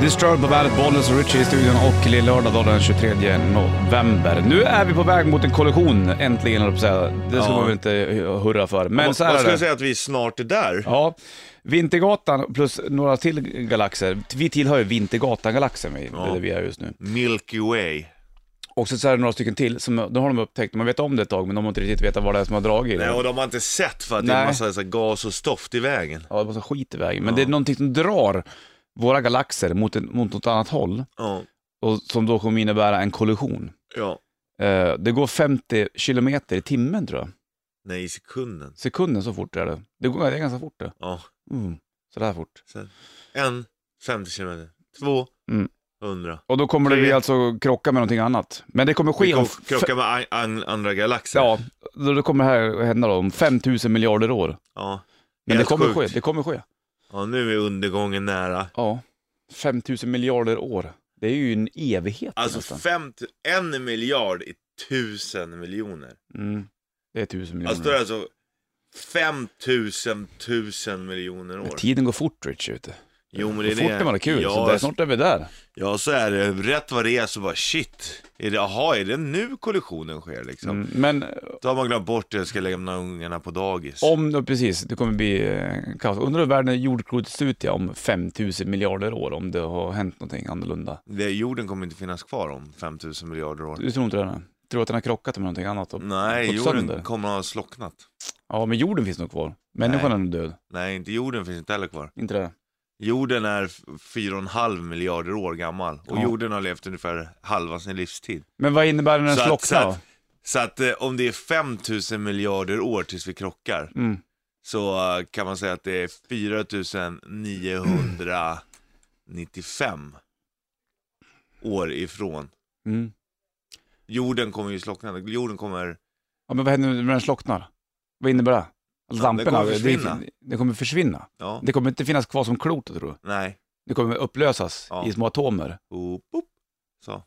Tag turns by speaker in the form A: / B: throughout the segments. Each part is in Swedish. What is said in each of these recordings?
A: Disturbed på bandet Bollnäs och Richie i studion och lillördag då den 23 november. Nu är vi på väg mot en kollision, äntligen höll jag på att säga. Det ska
B: Ja.
A: man väl inte hurra för. Men
B: Man
A: så här
B: skulle
A: är det.
B: säga att vi snart är där.
A: Ja, Vintergatan plus några till galaxer. Vi tillhör ju Vintergatan-galaxen, vi,
B: Ja.
A: det är där vi är just nu.
B: Milky Way.
A: Och så, så är det några stycken till, som de har de upptäckt. Man vet om det ett tag, men de har inte riktigt vetat vad det är som har dragit i
B: Nej,
A: det.
B: och de har inte sett för att det är
A: Nej.
B: en massa så här, gas och stoft i vägen.
A: Ja, det var så skit i vägen. Men det är någonting som drar våra galaxer mot, en, mot något annat håll
B: Ja,
A: och som då kommer innebära en kollision.
B: ja.
A: Eh, det går 50 kilometer i timmen tror jag.
B: Nej, i sekunden.
A: Sekunden så fort är det. Det, går, det är ganska fort det.
B: Ja.
A: Mm. Sådär fort.
B: Sen. En, 50 kilometer. Två,
A: Mm.
B: 100.
A: Och då kommer det vi
B: Tre.
A: alltså krocka med någonting annat. Men det kommer
B: Vi
A: ske om...
B: krock- krockar med an- an- andra galaxer.
A: Ja, då då kommer det här hända då om 5000 miljarder år.
B: ja.
A: Men det
B: Helt
A: kommer
B: sjukt.
A: ske, det kommer ske.
B: Ja, nu är undergången nära.
A: Ja, 5000 miljarder år. Det är ju en evighet
B: Alltså
A: nästan.
B: fem, en miljard i tusen miljoner.
A: Mm. Det är tusen miljoner.
B: Alltså då är det alltså fem tusen tusen miljoner år.
A: Tiden går fort Rich ute.
B: Jo men
A: Det
B: det
A: är
B: är
A: fort
B: det.
A: när man har kul,
B: ja,
A: så där, snart är vi där.
B: ja så är det, rätt vad det är så bara shit. Är det, aha, är det nu kollisionen sker liksom?
A: Mm. Men
B: Då har man glömt bort att jag ska lämna ungarna på dagis.
A: om, ja, precis, det kommer bli eh, kaos. Undrar hur världen, jordklotet ser ut ja, om 5000 miljarder år, om det har hänt någonting annorlunda.
B: Det, jorden kommer inte finnas kvar om 5000 miljarder år.
A: Du tror inte det? nej? Tror du att den har krockat med någonting annat? Och
B: Nej,
A: gått
B: jorden
A: sönder?
B: kommer att ha slocknat.
A: Ja, men jorden finns nog kvar. Människan
B: Nej.
A: är nog död.
B: Nej, inte jorden finns inte heller kvar.
A: Inte det?
B: Jorden är f- 4,5 miljarder år gammal och
A: Ja.
B: jorden har levt ungefär halva sin livstid.
A: Men vad innebär det när den
B: Så att- så
A: slocknar?
B: att- Så att eh, om det är 5000 miljarder år tills vi krockar
A: då? Mm.
B: så eh, kan man säga att det är 4995 år ifrån.
A: Mm.
B: Jorden kommer ju slockna, jorden kommer...
A: Ja, men vad händer när den slocknar? Vad innebär det? Lamporna,
B: kommer försvinna.
A: det, det kommer försvinna.
B: Ja,
A: Det kommer inte finnas kvar som klot, tror du.
B: nej.
A: Det kommer upplösas
B: Ja.
A: i små atomer.
B: Oh, pop. Så.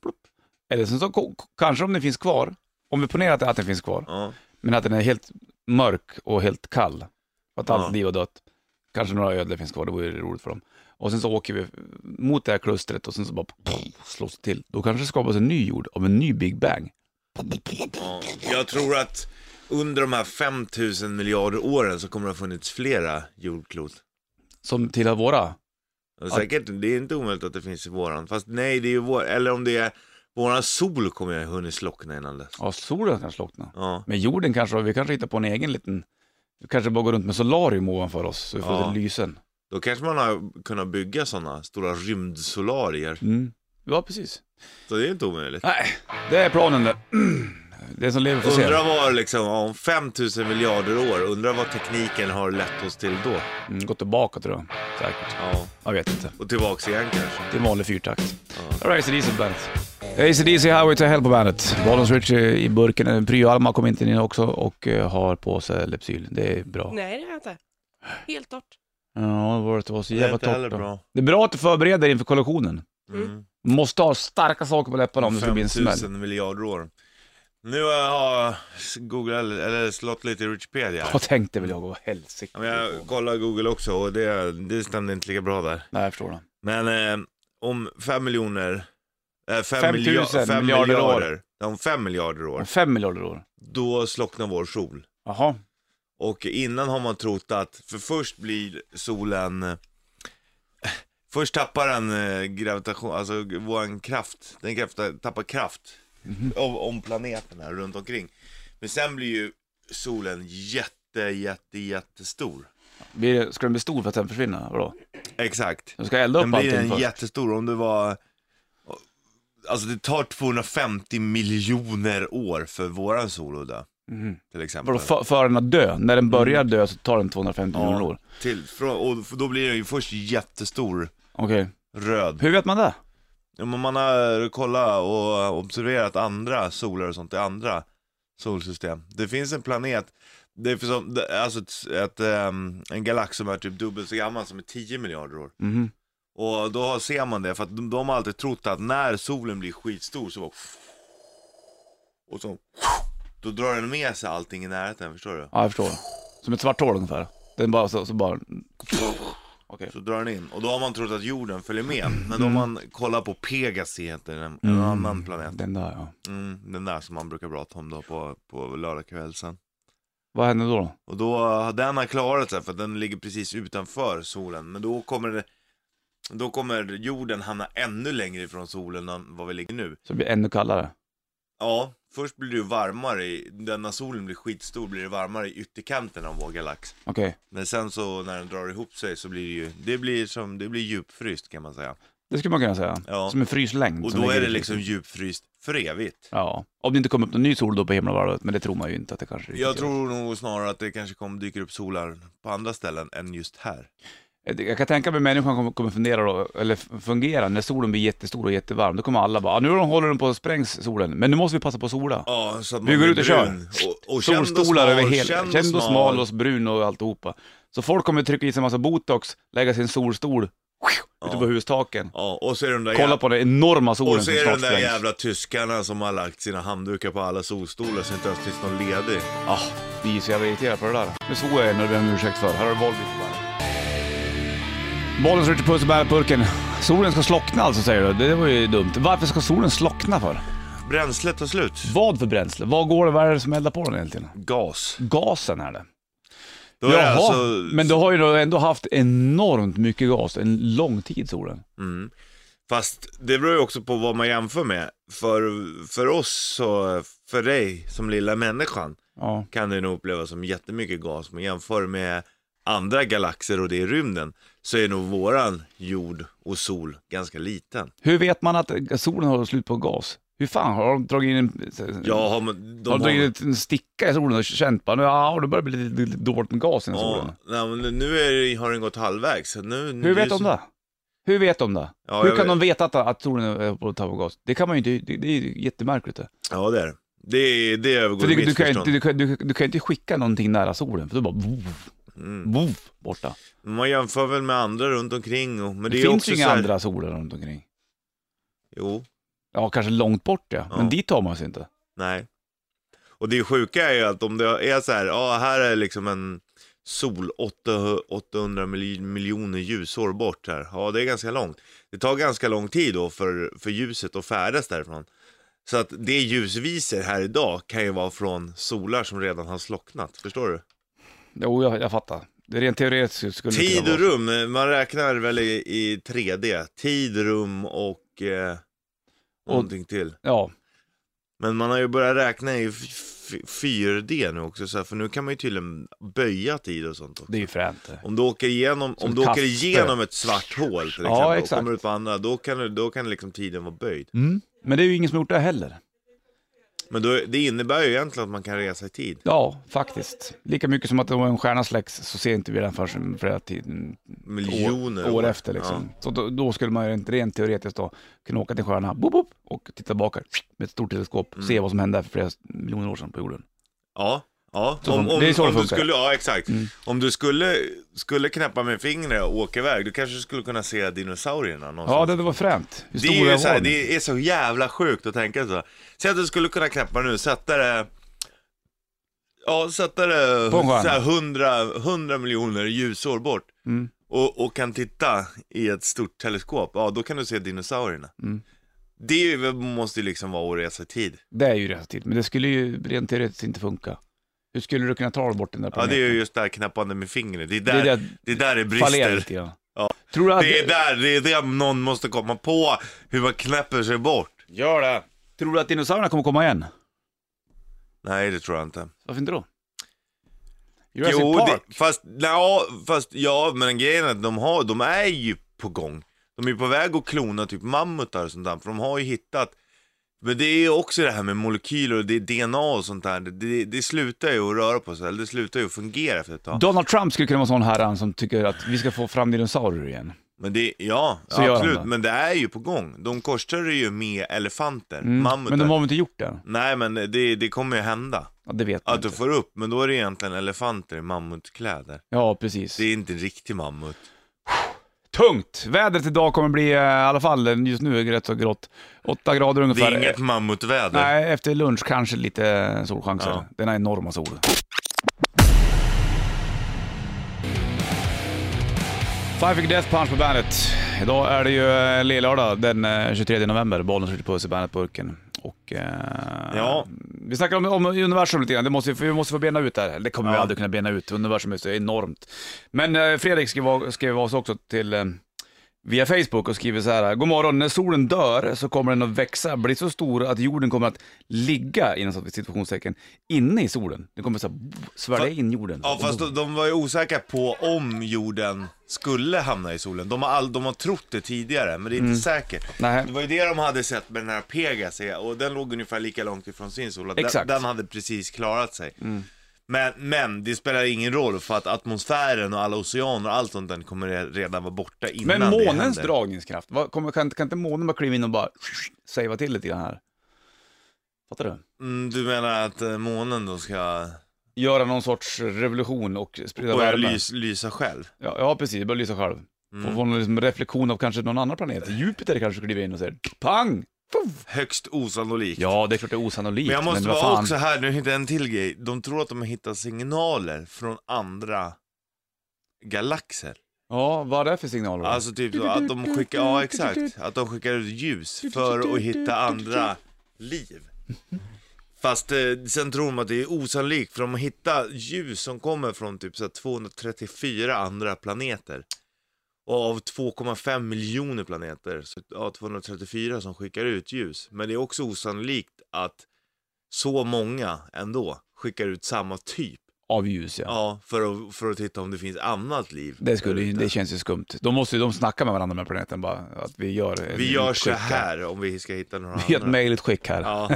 A: Eller sen så ko- ko- kanske om den finns kvar, om vi ponerar att, att den finns kvar,
B: Ja.
A: men att den är helt mörk och helt kall, och att allt
B: Ja.
A: liv har dött. Kanske några ödlor finns kvar, det vore ju roligt för dem. Och sen så åker vi mot det här klustret och sen så bara pff, slås det till. Då kanske det skapas en ny jord av en ny Big Bang.
B: Ja. Jag tror att under de här 5000 miljarder åren så kommer det ha funnits flera jordklot.
A: Som tillhör våra.
B: Och Säkert, det är inte omöjligt att det finns i våran. Fast nej, det är ju vår, eller om det är våran sol kommer jag hunnit slockna innan dess.
A: Ja, solen kanske slocknar.
B: Ja,
A: Men jorden kanske, vi kanske hittar på en egen liten, vi kanske bara går runt med solarium ovanför oss så vi får
B: Ja.
A: lite lysen.
B: då kanske man har kunnat bygga sådana stora rymdsolarier.
A: Mm. Ja, precis.
B: Så det är inte omöjligt.
A: Nej, det är planen det. Det som lever får se.
B: Undrar vad liksom, om 5000 miljarder år, undrar vad tekniken har lett oss till då.
A: Mm, gått tillbaka tror jag. Säkert.
B: Ja,
A: Jag vet inte.
B: och tillbaks igen kanske.
A: Det är en vanlig fyrtakt. Här är ACDC på bandet. ACDC Highway to Hell på bandet. Bollens Richie i burken. Eh, Pryo Alma kom inte in också och eh, har på sig Lypsyl. Det är bra.
C: Nej, det har jag inte. Helt torrt.
A: Ja, det var det var så
B: Det är
A: jävla
B: inte heller
A: torrt. då.
B: bra.
A: Det är bra att du förbereder dig inför kollisionen.
B: Mm.
A: Måste ha starka saker på läpparna om det ska bli en smäll.
B: 5000 miljarder år. Nu har jag googlat, eller slått lite i Wikipedia. här.
A: Jag tänkte väl jag, vad helsike.
B: Ja, Men jag kollade Google också och det, det stämde inte lika bra där.
A: Nej, jag förstår det.
B: Men eh, om fem miljoner... Eh, fem
A: 5 000
B: milja- fem
A: miljarder år.
B: Om fem miljarder år,
A: Om Fem miljarder år.
B: då slocknar vår sol.
A: Jaha.
B: Och innan har man trott att, för först blir solen, eh, först tappar den eh, gravitation, alltså vår kraft, den krafta, tappar kraft
A: Mhm.
B: om, om planeterna runt omkring. Men sen blir ju solen jätte, jätte, jättestor.
A: Blir det- Ska den bli stor för att den försvinner? Vadå?
B: Exakt.
A: Den ska elda upp
B: Den blir
A: allting
B: en
A: först?
B: jättestor, om det var, alltså det tar 250 miljoner år för våran sol att dö.
A: Mhm.
B: Till exempel.
A: Vadå, för, för den att dö? När den börjar dö så tar den 250
B: Mm. Ja.
A: miljoner år?
B: Till, från, och då blir den ju först jättestor,
A: Okej.
B: röd.
A: Hur vet man det?
B: Ja, men man har kollat och observerat andra solar och sånt i andra solsystem. Det finns en planet, det är för som, det- alltså ett, ett, ehm, en galax som är typ dubbelt så gammal som är 10 miljarder år.
A: Mhm.
B: Och då har- ser man det, för att de, de har alltid trott att när solen blir skitstor så bara, och så, då drar den med sig allting i närheten, förstår du?
A: Ja, jag förstår. Som ett svart hål ungefär. Den bara så, så bara... Okej. okej.
B: Så drar den in. Och då har man trott att jorden följer med. Men då om man kollar på Pegasi, heter den,
A: Mm.
B: en annan planet.
A: Den där ja.
B: Mm, den där som man brukar prata om då på, på lördagskvällsen.
A: Vad händer då? då?
B: Och då har den har klarat sig för att den ligger precis utanför solen. Men då kommer, det- då kommer jorden hamna ännu längre ifrån solen än vad vi ligger nu.
A: Så det blir ännu kallare.
B: Ja, först blir det ju varmare, i, den när solen blir skitstor blir det varmare i ytterkanten av vår galax.
A: Okej.
B: Men sen så när den drar ihop sig så blir det ju, det blir som, det blir djupfryst kan man säga.
A: Det skulle man kunna säga.
B: Ja.
A: Som en fryslängd. Mm,
B: Och
A: som
B: då
A: ligger
B: är det
A: i
B: liksom
A: frysen.
B: djupfryst för evigt.
A: Ja. Om det inte kommer upp någon ny sol då på himlavalvet, men det tror man ju inte att det kanske riktigt
B: Jag
A: gör.
B: tror nog snarare att det kanske kommer dyker upp solar på andra ställen än just här.
A: Eh, Jag kan tänka mig att människan kommer- kommer fundera då, eller f- fungera, när solen blir jättestor och jättevarm, då kommer alla bara, "Ah, nu håller den på att sprängs solen, men nu måste vi passa på att sola.
B: Ja, så att
A: Vi går
B: blir
A: ut och kör.
B: brun. Och, och känd och
A: Solstolar över
B: smal,
A: hela, känd och smal och brun och alltihopa. Så folk kommer trycka i sig en massa botox, lägga sin solstol ute på hustaken,
B: Ja, och så är den där
A: kolla
B: jävla,
A: på den enorma solen
B: och så
A: som
B: är
A: snart
B: den där
A: sprängs.
B: jävla tyskarna som har lagt sina handdukar på alla solstolar så inte ens finns någon ledig.
A: Ah, vi är så jävla irriterade på det där. Nu svor jag er när du ber om ursäkt för. Här har du Volvo på bandet. Bollens Richard Puss i bärpurken. Solen ska slockna alltså säger du. Det var ju dumt. Varför ska solen slockna för?
B: Bränslet tar slut.
A: Vad för bränsle? Vad går det? Vad är det som eldar på den egentligen?
B: Gas.
A: Gasen är det.
B: Då är det alltså...
A: men du har ju då ändå haft enormt mycket gas en lång tid solen.
B: Mm. Fast det beror ju också på vad man jämför med. För, för oss och för dig som lilla människan
A: Ja.
B: kan det nog upplevas som jättemycket gas. Men jämför med andra galaxer och det i rymden så är nog våran jord och sol ganska liten.
A: Hur vet man att solen har slut på gas? Hur fan har de dragit in en...
B: Ja, har man, de
A: har de
B: har-
A: dragit in en sticka i solen och känt bara, nu, ja, det börjar bli lite, lite dåligt med gas i den solen.
B: Ja, nej, men nu är, det- har den gått halvvägs. så Nu,
A: Hur vet de det? Hur vet de det?
B: Ja,
A: Hur
B: jag
A: kan
B: vet.
A: de veta att, att solen är på att tappa gas? Det kan man ju inte, det, det är ju jättemärkligt det.
B: Ja, det är det. det. Det övergår
A: För det, du, kan ju
B: missförstånd.
A: inte, du, kan, du, du kan ju inte skicka någonting nära solen, för då bara voof,
B: Mm.
A: voof, borta.
B: Man jämför väl med andra runt omkring. Och, men det,
A: Det,
B: är
A: finns
B: också
A: ju inga
B: så här,
A: andra soler runt omkring.
B: Jo,
A: Ja, kanske långt bort ja, men
B: Ja.
A: dit tar man sig inte.
B: nej. Och det sjuka är ju att om det är så här, ja här är liksom en sol 800 800 mil- miljoner ljusår bort här. Ja, det är ganska långt. Det tar ganska lång tid då för, för ljuset att färdas därifrån. Så att det ljus vi ser här idag kan ju vara från solar som redan har slocknat. Förstår du?
A: Jo, jag, jag fattar. Det är rent teoretiskt skulle det
B: Tid
A: kunna
B: och
A: vara.
B: rum, eh, man räknar väl i, i 3D. Tid, rum och eh, någonting till.
A: Ja,
B: Men man har ju börjat räkna i f- f- 4D nu också, så här, för nu kan man ju tydligen böja tid och sånt också.
A: det är ju fränt. det.
B: Om du åker igenom,
A: Som
B: om du åker
A: kaffe.
B: igenom ett svart hål till exempel
A: Ja,
B: och
A: exakt.
B: kommer ut på andra, då kan, du- då kan liksom tiden vara böjd.
A: Mm. Men det är ju ingen som har gjort det heller.
B: Men då, det innebär ju egentligen att man kan resa i tid.
A: Ja, faktiskt. Lika mycket som att om en stjärna släcks så ser inte vi den förrän flera tiden
B: Miljoner
A: år, år efter. Liksom. Så då, då skulle man ju rent, rent teoretiskt då, kunna åka till stjärnan boop, boop, och titta tillbaka med ett stort teleskop
B: Mm.
A: se vad som hände för flera miljoner år sedan på jorden.
B: Ja, ja.
A: Så
B: om,
A: fun-
B: om,
A: det är så det
B: om du
A: funkar. Mm.
B: skulle, ja exakt. Om du skulle, skulle knäppa med fingret och åka iväg, du kanske skulle kunna se dinosaurierna någonstans.
A: Ja, det, det var fränt. Hur
B: det
A: stora
B: är ju
A: var
B: så här,
A: de?
B: det är så jävla sjukt att tänka så. Säg att du skulle kunna knäppa nu, sätta det, ja sätta det
A: På en stjärna.
B: så här 100, 100 miljoner ljusår bort.
A: Mm.
B: Och, och kan titta i ett stort teleskop, ja då kan du se dinosaurierna.
A: Mm.
B: Det är ju- måste ju liksom vara att resa i tid.
A: det är ju rätt tid, men det skulle ju rent teoretiskt inte funka. Hur skulle du kunna ta bort den där
B: Ja det
A: planeten?
B: är ju just det här knäppande med fingret, det är
A: det,
B: där
A: är
B: det,
A: det,
B: är där det
A: det
B: brister.
A: fallerar lite grann.
B: Ja.
A: Tror du att...
B: Det är där, det är där någon måste komma på hur man knäpper sig bort.
A: Gör det! Tror du att dinosaurierna kommer komma igen?
B: Nej, det tror jag inte.
A: Varför inte då? Jurassic
B: det,
A: Park?
B: fast, ja, fast ja, men grejen är att de, har, de är ju på gång. De är ju på väg att klona typ mammutar och sånt där, för de har ju hittat men det är ju också det här med molekyler och det är DNA och sånt där. Det, det, det slutar ju att röra på sig, eller det slutar ju att fungera efter ett tag.
A: Donald Trump skulle kunna vara sån herre som tycker att vi ska få fram dinosaurier igen.
B: Men det, ja,
A: Så gör de
B: absolut.
A: det.
B: Men det är ju på gång. De korsar ju med elefanter, mammutar.
A: Mm, Men de har väl inte gjort det?
B: Nej, men det, det kommer ju hända.
A: Ja, det vet man
B: Att du
A: inte.
B: får upp, men då är det egentligen elefanter i mammutkläder.
A: Ja, precis.
B: Det är inte en riktig mammut.
A: Tungt! Vädret idag kommer bli, eh, i alla fall just nu, är det rätt så grått. 8 grader
B: Det
A: ungefär.
B: är inget mammutväder.
A: Nej, efter lunch kanske lite solchanser.
B: Ja.
A: Den här enorma solen. Five Finger Death Punch på bandet. Idag är det ju eh, lillördag den eh, 23 november. Bollen skjuter puss i bandetburken. Och, eh,
B: Ja.
A: Vi snackar om, om universum lite grann, det måste, vi- vi måste få bena ut det här. Det kommer vi
B: Ja.
A: aldrig kunna bena ut, universum är så enormt. Men eh, Fredrik skrev, skrev oss också till eh, via Facebook och skriver så här. God morgon, när solen dör så kommer den att växa, bli så stor att jorden kommer att ligga, inom situationstecken, inne i solen. Den kommer så här, svälja
B: Fa-
A: in jorden.
B: Ja fast de, de var ju osäkra på om jorden skulle hamna i solen. De har, all, de har trott det tidigare men det är inte säkert.
A: Mm. Nej.
B: Det var ju det de hade sett med den här Pegas och den låg ungefär lika långt ifrån sin sol. att Den,
A: Exakt. Mm.
B: den hade precis klarat sig. Men, men det spelar ingen roll för att atmosfären och alla oceaner och allt sånt där kommer re- redan vara borta
A: Men
B: innan det
A: månens
B: händer.
A: dragningskraft, vad, kommer, kan, kan inte månen bara kliva in och bara savea till lite grann här? Fattar du?
B: Mm, du menar att eh, månen då ska
A: Göra någon sorts revolution och sprida
B: börja
A: värme.
B: lys, lysa själv?
A: Ja, ja, precis, börja lysa själv. Och få någon liksom reflektion av kanske någon annan planet. Jupiter kanske kliver in och säger pang! Puff!
B: Högst osannolikt.
A: Ja, det är klart det är osannolikt,
B: Men jag måste
A: vad
B: vara
A: fan.
B: också här, nu hittade jag en till grej. De tror att de har hittat signaler från andra galaxer.
A: Ja, vad är det för signaler?
B: Alltså typ så att de skickar, ja exakt, att de skickar ut ljus för att hitta andra liv. Fast eh, sen tror de att det är osannolikt för de har hittat ljus som kommer från typ så här 234 andra planeter. Och av 2,5 miljoner planeter så ja, 234 som skickar ut ljus. Men det är också osannolikt att så många ändå skickar ut samma typ.
A: Av ljus, ja.
B: Ja, för att, för att titta om det finns annat liv.
A: Det, skulle, ju-
B: därute.
A: det känns ju skumt. De måste ju de snacka med varandra med planeten bara. Att vi gör ett
B: Vi gör så
A: utskick
B: här om vi ska hitta några
A: Vi gör ett
B: andra.
A: mejlutskick här.
B: Ja.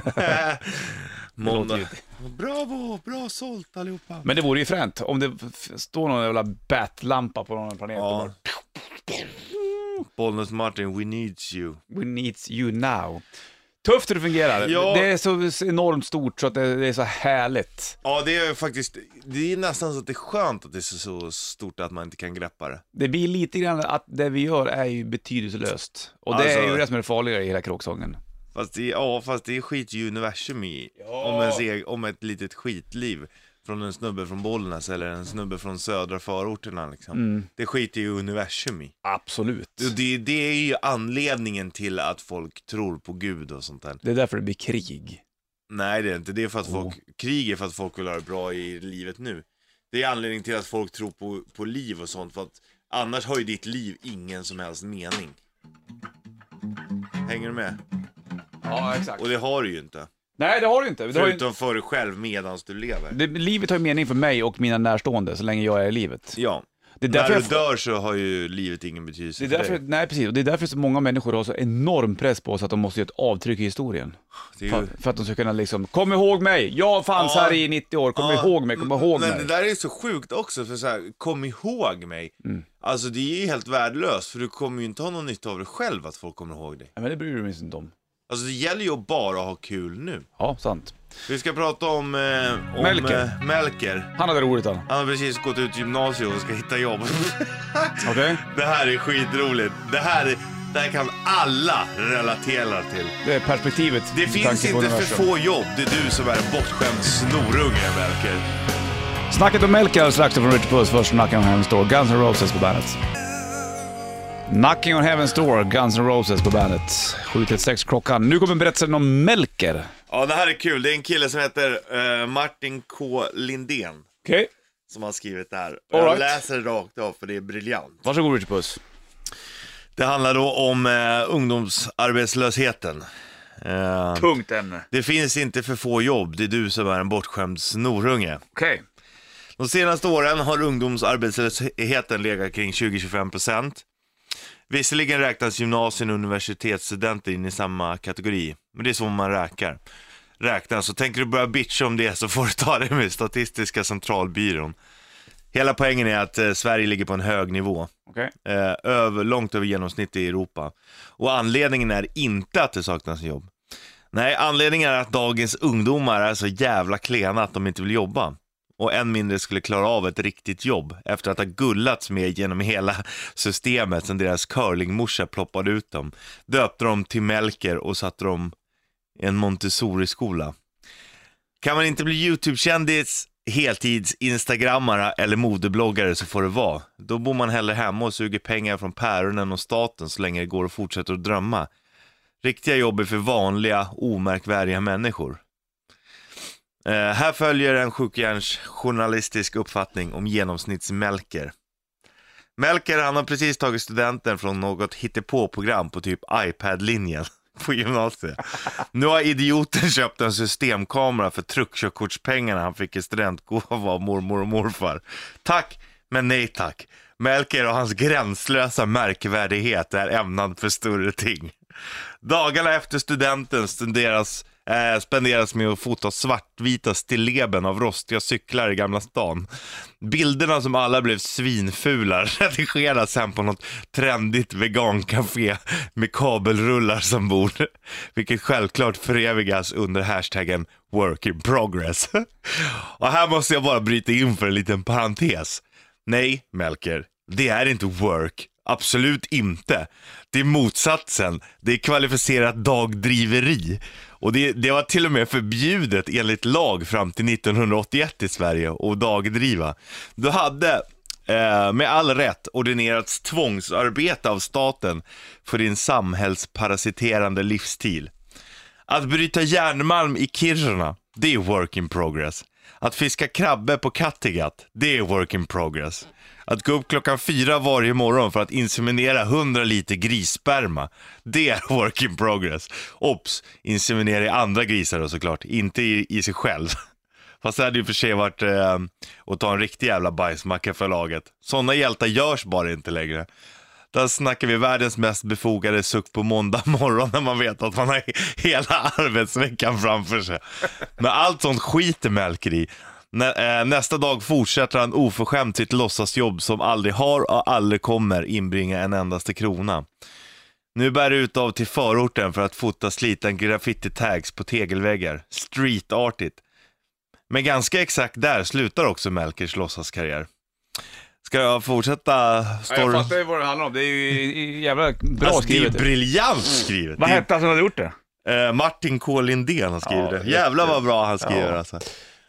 A: låter ju-
B: Måndag. Bravo, bra sålt allihopa.
A: Men det vore ju fränt om det f- står någon jävla batlampa på någon planet och
B: Ja.
A: bara,
B: Bollnäs Martin, we need you.
A: We needs you now. Tufft hur det fungerar.
B: Ja.
A: Det är så så enormt stort så att det, det är så härligt.
B: Ja, det är faktiskt, det är nästan så att det är skönt att det är så, så stort att man inte kan greppa det.
A: Det blir lite grann att det vi gör är ju betydelselöst. Och det
B: Alltså-
A: är ju det som är det farliga i hela kråksången.
B: Fast det, är- ja, fast det är skit i universum i, om, ens, eg- om ett litet skitliv. Från en snubbe från Bollnäs eller en snubbe från södra förorterna liksom.
A: Mm.
B: Det skiter ju universum i.
A: Absolut.
B: Och Det, det är ju anledningen till att folk tror på Gud och sånt där.
A: Det är därför det blir krig.
B: Nej det är inte, det är för att folk, krig är för att folk vill ha det bra i livet nu. Det är anledningen till att folk tror på, på liv och sånt för att annars har ju ditt liv ingen som helst mening. Hänger du med?
A: Ja, exakt.
B: Och det har du ju inte.
A: Nej, det har du inte. Det har ju...
B: Förutom för dig själv medans du lever.
A: det, livet har ju mening för mig och mina närstående så länge jag är i livet.
B: Ja.
A: Det är
B: När
A: därför
B: du
A: jag...
B: dör så har ju livet ingen betydelse
A: Det är
B: för
A: därför,
B: dig.
A: nej precis, och det är därför så många människor har så enorm press på sig att de måste göra ett avtryck i historien.
B: Det är ju-
A: För, för att de ska kunna liksom, kom ihåg mig, jag fanns
B: Ja.
A: här i 90 år, kom
B: Ja,
A: ihåg mig, kom ihåg
B: men
A: mig.
B: det där är så sjukt också, för så här, kom ihåg mig.
A: Mm.
B: Alltså det är ju helt värdelöst, för du kommer ju inte ha någon nytta av det själv att folk kommer ihåg dig.
A: Nej, men det bryr du mig inte om.
B: Alltså det gäller ju att bara ha kul nu.
A: Ja, sant.
B: Vi ska prata om... Eh, om
A: Melker.
B: Eh, Melker.
A: Han hade roligt han.
B: Han har precis gått ut gymnasiet och ska hitta jobb.
A: Okej?
B: det här är skitroligt. Det här, är- det här kan alla relatera till.
A: Det är perspektivet.
B: Det
A: med
B: finns
A: tanke på
B: inte för
A: universum.
B: få jobb. Det är du som är en bortskämd snorunge, Melker.
A: Snacket om Melker alldeles strax från Rich Puss. Först Knocking on Heaven's Door, Guns N' Roses på bandet. Knocking on Heaven's Door, Guns N' Roses på bandet. 7.36 klockan. Nu kommer berättelsen om Melker.
B: Ja, det här är kul. Det är en kille som heter eh, Martin K. Lindén
A: Okej.
B: som har skrivit det här.
A: All
B: Jag
A: right.
B: läser rakt av för det är briljant.
A: Varsågod Rich Puss.
B: Det handlar då om eh, ungdomsarbetslösheten. Eh,
A: Punkt ämne.
B: Det finns inte för få jobb, det är du som är en bortskämd snorunge.
A: Okej.
B: De senaste åren har ungdomsarbetslösheten legat kring 20-25 procent. Visserligen räknas gymnasien och universitetsstudenter in i samma kategori, men det är så man räknar. Räknas, så tänker du börja bitcha om det så får du ta det med Statistiska centralbyrån. Hela poängen är att eh, Sverige ligger på en hög nivå
A: Okej.
B: eh, över, långt över genomsnittet i Europa. Och anledningen är inte att det saknas jobb. Nej, anledningen är att dagens ungdomar är så jävla klena att de inte vill jobba. Och än mindre skulle klara av ett riktigt jobb efter att ha gullats med genom hela systemet sen deras curlingmorsa ploppade ut dem. Döpte dem till Melker och satte dem i en Montessori-skola. Kan man inte bli YouTube-kändis heltids-instagrammare eller modebloggare så får det vara. Då bor man hellre hemma och suger pengar från päronen och staten så länge det går och fortsätter att drömma. Riktiga jobb är för vanliga, omärkvärdiga människor. Eh, här följer en sjukjärns journalistisk uppfattning om genomsnittsmelker. Melker han har precis tagit studenten från något hittepå-program på typ iPad-linjen på gymnasiet. Nu har idioten köpt en systemkamera för truckkörkortspengarna han fick i studentgåva av mormor och morfar. Tack, men nej tack. Melker och hans gränslösa märkvärdighet är ämnad för större ting. Dagarna efter studenten spenderas, eh, spenderas med att fota svartvita stilleben av rostiga cyklar i Gamla stan. Bilderna som alla blev svinfula redigeras sen på något trendigt vegancafé med kabelrullar som bord. Vilket självklart förevigas under hashtaggen work in progress. Och här måste jag bara bryta in för en liten parentes. Nej, Melker, det är inte work. Absolut inte. Det är motsatsen. Det är kvalificerat dagdriveri. Och det, det var till och med förbjudet enligt lag fram till 1981 i Sverige att dagdriva. Du hade eh, med all rätt ordinerats tvångsarbete av staten för din samhällsparasiterande livsstil. Att bryta järnmalm i Kiruna, det är work in progress. Att fiska krabbe på Kattegatt, det är work in progress. Att gå upp klockan fyra varje morgon för att inseminera 100 liter grissperma, det är work in progress. Ops, inseminera i andra grisar då såklart, inte i, i sig själv. Fast det hade ju för sig varit eh, att ta en riktig jävla bajsmacka för laget. Sådana hjältar görs bara inte längre. Där snackar vi världens mest befogade suck på måndag morgon när man vet att man har hela arbetsveckan framför sig. Men allt sånt skiter Melker i. Nä, eh, nästa dag fortsätter han oförskämt sitt låtsasjobb som aldrig har och aldrig kommer inbringa en endaste krona. Nu bär det ut av till förorten för att fota sliten graffiti-tags på tegelväggar. Streetartigt. Men ganska exakt där slutar också Melkers låtsaskarriär. Ska jag fortsätta
A: Ja, jag
B: storyn?
A: fattar ju vad det handlar om. Det är ju i- i- jävla bra
B: alltså, det är ju
A: skrivet. Mm.
B: briljant skrivet.
A: Vad
B: Det är-
A: hette han som hade gjort det?
B: Eh, Martin K. Lindén har skrivit
A: Ja,
B: det.
A: jätte-
B: Jävlar vad bra han skriver alltså.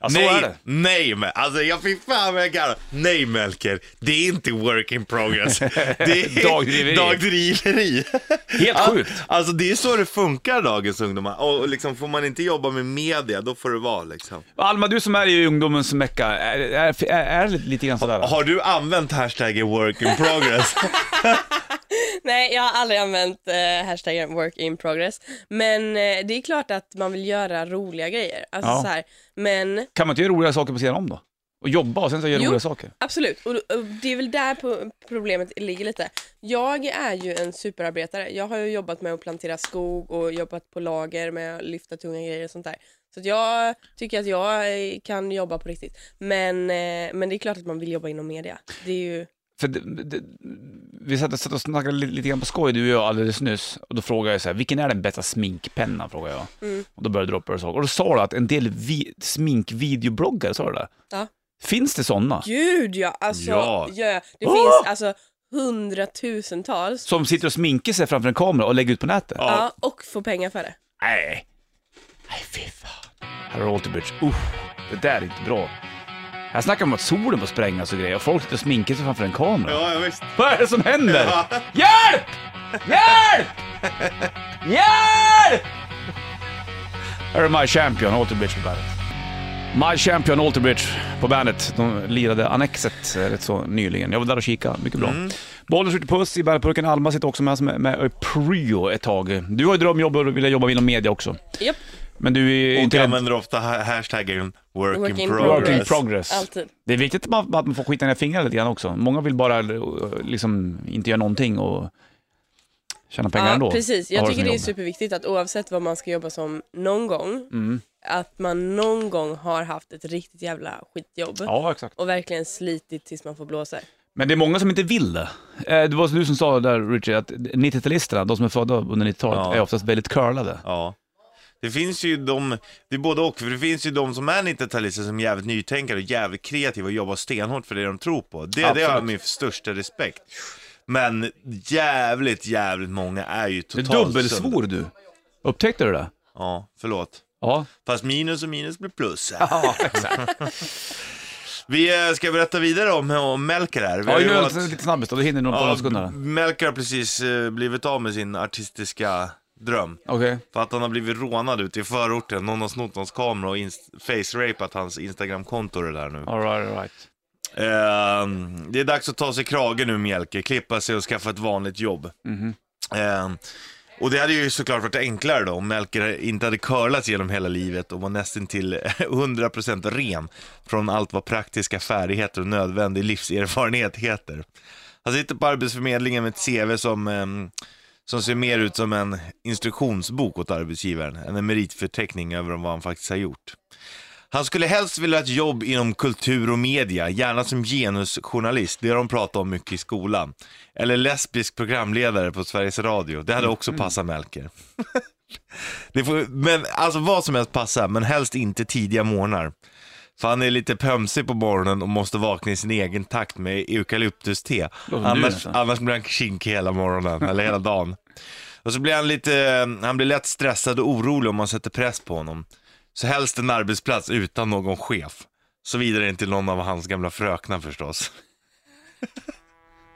A: Ja, så
B: nej,
A: är det.
B: nej, men alltså jag fick fan vad jag garvar. Nej Melker, det är inte work in progress. Det är
A: Dagdriveri.
B: dagdriveri.
A: Helt
B: Al-
A: sjukt.
B: Alltså det är så det funkar dagens ungdomar. Och och liksom, får man inte jobba med media, då får det vara liksom.
A: Alma, du som är i ungdomens mecka, är, är, är, är det lite grann sådär?
B: Har du använt hashtaggen work in progress?
D: Nej, jag har aldrig använt eh, hashtaggen work in progress. Men eh, det är klart att man vill göra roliga grejer. Alltså,
A: Ja.
D: så här. Men
A: Kan man inte göra roliga saker på sidan om då? Och jobba och sen så göra
D: Jo.
A: roliga saker?
D: absolut, och, och det är väl där po- problemet ligger lite. Jag är ju en superarbetare. Jag har ju jobbat med att plantera skog och jobbat på lager med att lyfta tunga grejer och sånt där. Så att jag tycker att jag eh, kan jobba på riktigt. Men, eh, men det är klart att man vill jobba inom media. Det är ju...
A: För det, det, vi satt, satt och snackade lite, lite grann på skoj, du och jag, alldeles nyss. Och då frågade jag så här, vilken är den bästa sminkpennan? Frågade jag.
D: Mm.
A: Och då började du droppa saker. Och då sa du att en del vi, sminkvideobloggare, sa du det?
D: Ja.
A: Finns det sådana?
D: Gud ja! Alltså,
B: Ja.
D: ja. Det
A: Ah!
D: finns alltså hundratusentals.
A: Som sitter och sminkar sig framför en kamera och lägger ut på nätet?
D: Ja, och få pengar för det.
A: Nej. Nej, fy fan. Här har Alterbridge. Uh, det där är inte bra. Här snackar de om att solen får sprängas och grejer och folk sitter och sminkar sig framför en kamera.
B: ja, ja, visst.
A: Vad är det som händer? Hjälp! Hjälp! Hjälp! Här är My Champion, Alterbridge på bandet. My Champion, Alterbridge på bandet. De lirade Annexet eh, rätt så nyligen. Jag var där och kika, mycket bra. Bollen skjuter puss i bandetburken. Alma sitter också med oss med, med Pryo ett tag. Du har ju drömjobb och vill jobba inom media också.
D: Japp,
A: Men du är
B: Och
A: inte
B: använder ofta ha- hashtaggen work,
D: Work
B: in,
D: in
A: Work
B: progress.
A: in progress.
D: alltid.
A: Det är viktigt att man, att man får skita ner fingrarna lite grann också. Många vill bara eh, liksom inte göra någonting och tjäna pengar
D: Ja,
A: ändå.
D: precis.
A: Och
D: Jag
A: ha
D: tycker
A: som
D: det är
A: jobb.
D: superviktigt att oavsett vad man ska jobba som någon gång,
A: Mm.
D: att man någon gång har haft ett riktigt jävla skitjobb.
A: Ja, exakt.
D: Och verkligen slitit tills man får blåsa.
A: Men det är många som inte vill det. Eh, Det var du som sa där Richard, att 90-talisterna, de som är födda under 90-talet,
B: Ja.
A: är oftast väldigt curlade.
B: Ja. Det finns ju de, det är både och, för det finns ju de som är 90-talister som är jävligt nytänkare och jävligt kreativa och jobbar stenhårt för det de tror på. Det, det har jag
A: Absolut.
B: min största respekt. Men jävligt, jävligt många är ju
A: Du
B: totalt... sönder-
A: dubbelsvor du. Upptäckte du det?
B: Ja, förlåt.
A: Ja,
B: Fast minus och minus blir plus.
A: ja exakt.
B: Vi eh, ska berätta vidare om, om Melker här. Vi
A: Ja,
B: har ju
A: gör
B: varit-
A: lite, lite snabbis då, du hinner nog på några
B: ja,
A: sekunder.
B: Melker har precis eh, blivit av med sin artistiska dröm.
A: Okej.
B: För att han har blivit rånad ute i förorten. Någon har snott hans kamera och inst- face-rapat hans Instagram-konto det där nu.
A: All right, all right.
B: Ehm, det är dags att ta sig kragen nu Mjälke, klippa sig och skaffa ett vanligt jobb.
A: Mhm.
B: Ehm, och det hade ju såklart varit enklare då om Melker inte hade curlats genom hela livet och var nästan till 100% ren från allt vad praktiska färdigheter och nödvändig livserfarenhet heter. Han sitter på Arbetsförmedlingen med ett CV som, ehm, som ser mer ut som en instruktionsbok åt arbetsgivaren än en meritförteckning över vad han faktiskt har gjort. Han skulle helst vilja ha ett jobb inom kultur och media, gärna som genusjournalist, det har de pratat om mycket i skolan. Eller lesbisk programledare på Sveriges Radio, det hade också passat Melker. det får, men alltså vad som helst passar, men helst inte tidiga morgnar. För han är lite pömsig på morgonen och måste vakna i sin egen takt med eukalyptuste.
A: Låter du
B: Annars,
A: nästan.
B: annars blir han kinkig hela morgonen, eller hela dagen. Och så blir han lite, han blir lätt stressad och orolig om man sätter press på honom. Så helst en arbetsplats utan någon chef. Såvida det inte är någon av hans gamla fröknar förstås.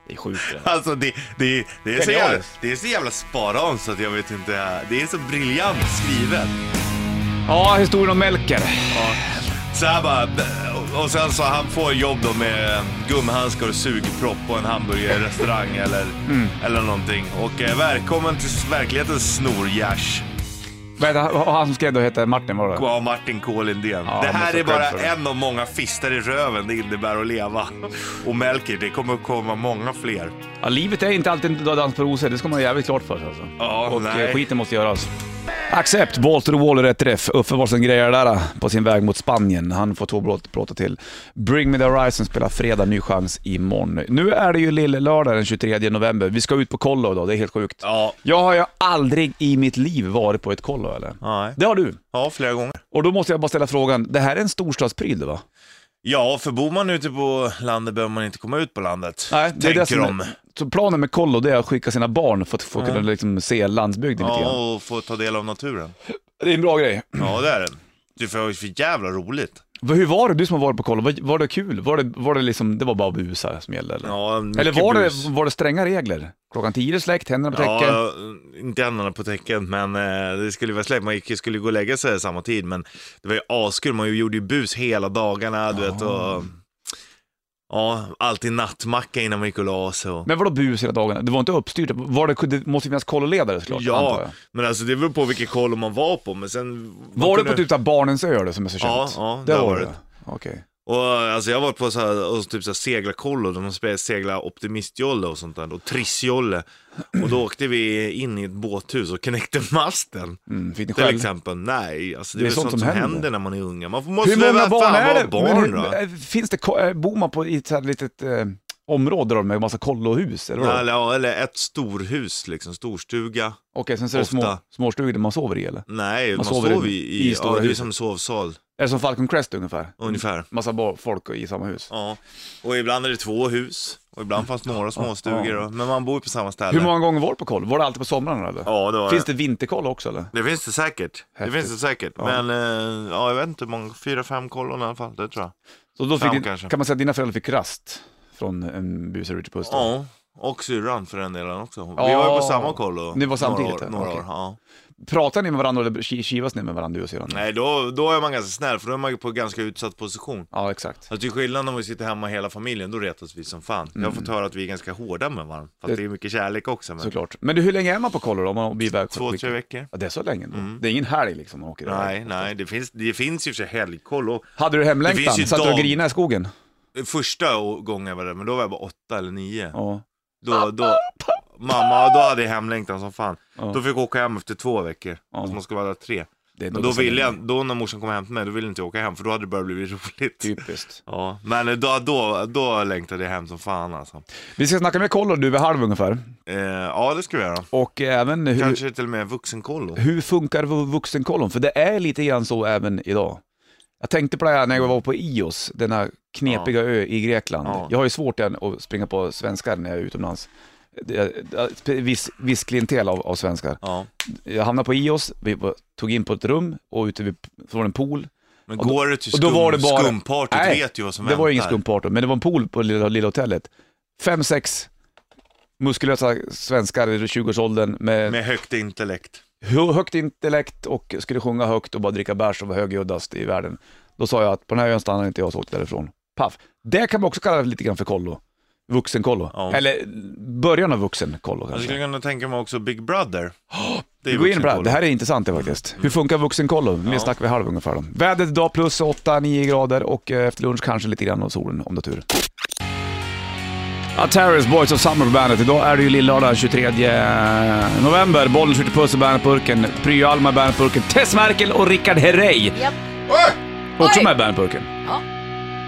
A: Det är sjukt det. där.
B: Alltså det, det, det, är, så jävla,
A: Genialiskt.
B: det är så jävla sparan så att jag vet inte. Det är så briljant skrivet.
A: Ja, historien om Melker.
B: Så här bara, och sen så han får jobb då med gummihandskar och sugpropp och en hamburgerrestaurang eller,
A: Mm.
B: eller någonting. Och eh, välkommen till verklighetens snorgärs.
A: Vad heter han- han som skrev det hette Martin var det?
B: Ja, Martin K. Lindén.
A: Ja,
B: det
A: han
B: här
A: måste
B: är
A: ha cred
B: bara
A: för det. Mm.
B: en av många fistar i röven det innebär att leva. Och Melker, det kommer komma många fler.
A: Ja, livet är inte alltid en dans på rosor, det ska man ha jävligt klart för sig alltså.
B: Ja,
A: Och
B: nej.
A: eh, skiten måste göras. Accept, ball to the wall är rätt träff. Uffe Wahlström grejar det där eh, på sin väg mot Spanien. Han får två blåt- plåtar till. Bring Me The Horizon spelar fredag, ny chans imorgon. Nu är det ju lill-lördag den 23 november. Vi ska ut på kollo idag, det är helt sjukt.
B: Ja,
A: Jag har ju aldrig i mitt liv varit på ett kollo eller?
B: Nej.
A: Det har du.
B: ja flera gånger.
A: Och då måste jag bara ställa frågan, det här är en storstadspryl det, va?
B: Ja, för bor man ute på landet behöver man inte komma ut på landet.
A: det är
B: tänker
A: det som-
B: de.
A: Så planen med kollo det är att skicka sina barn för att få kunna liksom se landsbygden lite grann.
B: Ja, och få ta del av naturen.
A: Det är en bra grej.
B: Ja, det är det. Det är ju för jävla roligt.
A: Vad- Hur var det, du som har varit på kollo? Var, var det kul? Var det, var det liksom, det var bara busar som gällde eller?
B: Ja,
A: eller
B: mycket
A: var det,
B: bus.
A: var det stränga regler? Klockan tio är det släckt, händerna på täcket.
B: Ja, inte händerna på täcket, men eh, det skulle vara släppt. Man gick, skulle gå och lägga sig samma tid, men det var ju askul. Man gjorde ju bus hela dagarna, du vet. Och, ja, alltid nattmacka innan man gick och la sig. Och...
A: Men vadå bus hela dagarna? Det var inte uppstyrt? Var det, det måste ju finnas kolloledare såklart, antar
B: Ja,
A: jag.
B: men alltså det beror på vilket koll man var på, men sen...
A: Var det på
B: kunde-
A: typ såhär Barnens ö då, som är så
B: Ja,
A: känt?
B: ja,
A: det
B: där
A: var
B: var
A: det.
B: det.
A: Okej.
B: Och alltså jag har varit på så här, och typ så här seglarkollo, där man spelade segla optimistjolle och sånt där, och trissjolle. Och då åkte vi in i ett båthus och knäckte masten.
A: Mm, fick ni
B: Till
A: själv?
B: exempel, nej. Alltså
A: Det
B: det, är väl sånt, som händer. när man är unga. Man får- måste
A: Hur
B: väl
A: många
B: fan
A: barn är
B: vara
A: det?
B: barn
A: Men
B: då?
A: hur- eh, Finns det, ko- eh, bor man på i ett så här litet eh, område då med massa kollohus? Eller vadå?
B: Ja, Eller, ja, eller ett storhus liksom, storstuga.
A: Okej, sen så är det små,
B: ofta.
A: småstugor där man sover i eller?
B: Nej, man,
A: sover
B: sover,
A: i-
B: i,
A: i
B: i, ja,
A: stora
B: det är
A: huset.
B: som sovsal
A: Är det som Falcon Crest ungefär?
B: ungefär.
A: Massa bar- folk i samma hus.
B: Ja. Och ibland är det två hus och ibland fanns några småstugor.
A: Ja.
B: Och, men man bor ju på samma ställe.
A: Hur många gånger var du på koll? Var det alltid på somrarna eller?
B: Ja, det var
A: Finns
B: det.
A: det vinterkoll också eller?
B: Det finns det säkert.
A: Häftigt.
B: Det finns det säkert. Men eh, ja, jag vet inte hur många, fyra, fem kollon i alla fall, det tror jag.
A: Så då fick
B: Fram
A: din,
B: kanske.
A: kan man säga att dina föräldrar fick rast från en busig Richard Puss? då?
B: Ja, och syrran för den delen också. Vi
A: Ja.
B: var ju på samma kollo.
A: Ni var samtidigt,
B: Några år.
A: ja.
B: Några
A: Okej.
B: år ja.
A: Pratar ni med varandra eller ki- kivas ni med varandra du och syrran?
B: Nej, då, då är man ganska snäll för då är man ju på ganska utsatt position.
A: Ja, exakt.
B: Alltså till skillnad om vi sitter hemma hela familjen, då retas vi som fan. Jag har fått höra att vi är ganska hårda med varandra, för
A: Mm. Det-
B: att det är mycket kärlek också. Men...
A: Såklart. Men du, hur länge är man på kollo då? Om man blir iväg på
B: Två,
A: ett
B: tre
A: weekend?
B: veckor. Mm.
A: Ja, det är så länge då. Det är ingen helg liksom man åker iväg.
B: Nej, nej, det finns, det finns ju i och för sig helgkoll. Och
A: Hade du
B: Det
A: hemlängtan?
B: finns ju
A: Satt du och
B: dag-
A: grinade i skogen?
B: Första å- gången jag var där, men då var jag bara åtta eller nio.
A: Ja.
B: Då, då, mamma, då hade jag hemlängtan som fan.
A: Ja.
B: Då fick jag åka hem efter två veckor.
A: Ja.
B: Alltså man ska vara där tre.
A: Det är
B: Men då ville jag, då när morsan kom hem till mig, då ville inte jag åka hem för då hade det börjat bli roligt.
A: Typ. Typiskt.
B: Ja, men då, då, då längtade jag hem som fan alltså.
A: Vi ska snacka med kollo du vid halv ungefär.
B: Eh, ja, det ska vi göra.
A: Och även hur,
B: Kanske till och med vuxenkollo.
A: hur funkar vu- vuxenkollon? För det är lite grann så även idag. Jag tänkte på det här när jag var på Ios, denna knepiga ö i Grekland.
B: Ja.
A: Jag har ju svårt än att springa på svenskar när jag är utomlands. det- viss, viss klientel av, av svenskar.
B: Ja.
A: Jag hamnade på IOS, vi var- tog in på ett rum och ute vid, från en pool.
B: Men
A: Och då-
B: går du till
A: och
B: skum,
A: då var det bara-
B: skumpartyt
A: Nej,
B: vet ju vad som
A: det var
B: väntar.
A: ju ingen skumparty, men det var en pool på lilla, lilla hotellet. Fem, sex muskulösa svenskar i 20-årsåldern med
B: Med högt intellekt.
A: hö- högt intellekt och skulle sjunga högt och bara dricka bärs och vara högljuddast i världen. Då sa jag att på den här ön stannar inte jag, så åkte jag därifrån. Paff. Det kan man också kalla lite grann för kollo. Vuxenkollo.
B: Ja.
A: Eller början av vuxenkollo
B: Jag
A: kanske.
B: skulle kunna tänka mig också Big Brother. Det
A: Vi går in på det här.
B: vuxenkoll.
A: Det här är intressant det faktiskt. Hur funkar vuxenkollo? Vi
B: Ja.
A: snackar vi halv ungefär då. Vädret idag plus 8-9 grader och eh, efter lunch kanske lite grann av solen om det är tur. Ataris Boys of Summer på bandet. Idag är det ju lillördag 23 november. Bollen skjuter puss i bandetburken. Pryo Alma i bandetburken. Tess Merkel och Rickard Herrey.
E: Japp.
A: Också
E: Oj!
A: med i bandetburken.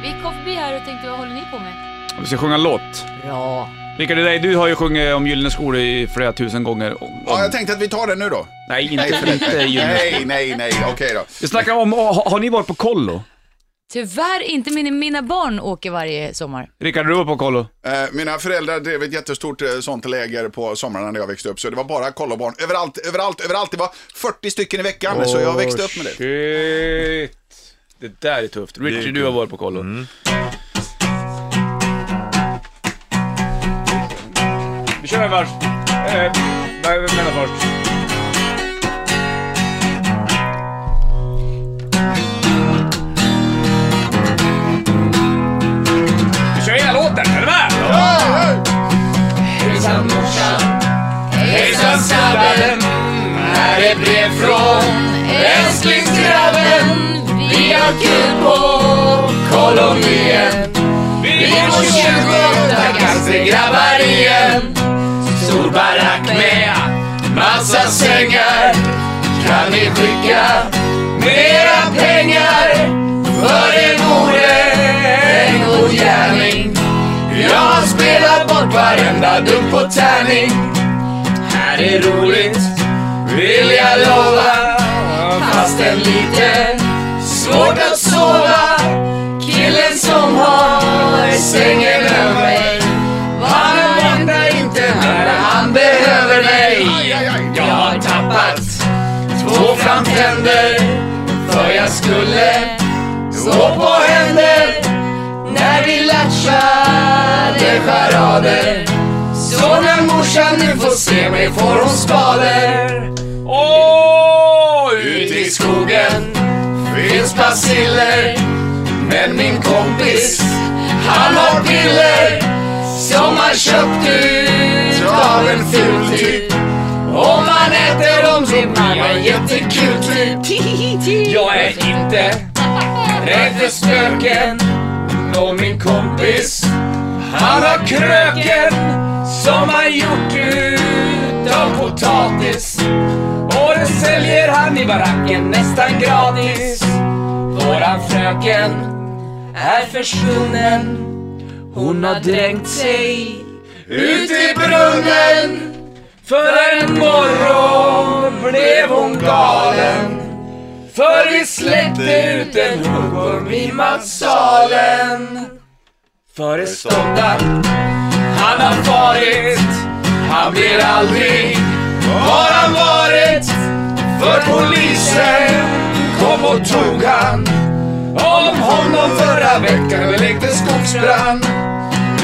E: Vi kom förbi här och tänkte, vad håller ni på med?
A: Vi ska sjunga en låt.
E: Bra.
A: Rickard Herrey, du har ju sjungit om Gyllene skor i flera tusen gånger. Om,
F: Ja, jag tänkte att vi tar det nu då.
A: Nej, inte,
F: förlåt.
A: inte Gyllene skor.
F: Nej, nej, nej. Okej då.
A: Vi snackar om, har, har ni varit på kollo?
E: Tyvärr inte, mina, mina barn åker varje sommar.
A: Rickard, har du varit på kollo?
F: Eh, Mina föräldrar drev ett jättestort eh, sånt läger på somrarna när jag växte upp. Så det var bara kollobarn överallt, överallt, överallt. Det var 40 stycken i veckan. så jag växte upp med det.
A: Shit. Det där är tufft. Richie, du har varit på kollo.
F: Mm.
A: Vi kör en vers. Eh, vad menar först? Vi kör hela låten, är du med? Hejsan morsan, hejsan snabben. Här är brev från
E: Älsklingsgrabben, vi har kul på
A: kolonien. Vi är på 28 kassegrabbar igen. Stor barack med massa sängar. Kan ni skicka mera pengar för er gode en god gärning? Jag har spelat bort varenda dunk på tärning. Här är roligt, vill jag lova. Fastän lite svårt att sova. Killen som har sängen över mig. Han väntar inte när han behöver mig. Jag har tappat två framtänder. För jag skulle stå på händer. När vi latchade charader. Så när morsan nu får se mig får hon spader. Åh, ut i skogen finns basiller. Men min kompis, han har piller som han köpt ut av en ful typ. Om man äter dem så blir man jättekul typ. Jag är inte rädd för spöken. Och min kompis, han har kröken som han gjort ut av potatis. Och den säljer han i baracken nästan gratis. Våran fröken är försvunnen. Hon har dränkt sig ut i brunnen. För en morgon blev hon galen. För vi släppte ut en huggorm i matsalen. Föreståndaren han har farit, han blir aldrig var han varit. För polisen kom och tog han om honom förra veckan det lekte skogsbrand.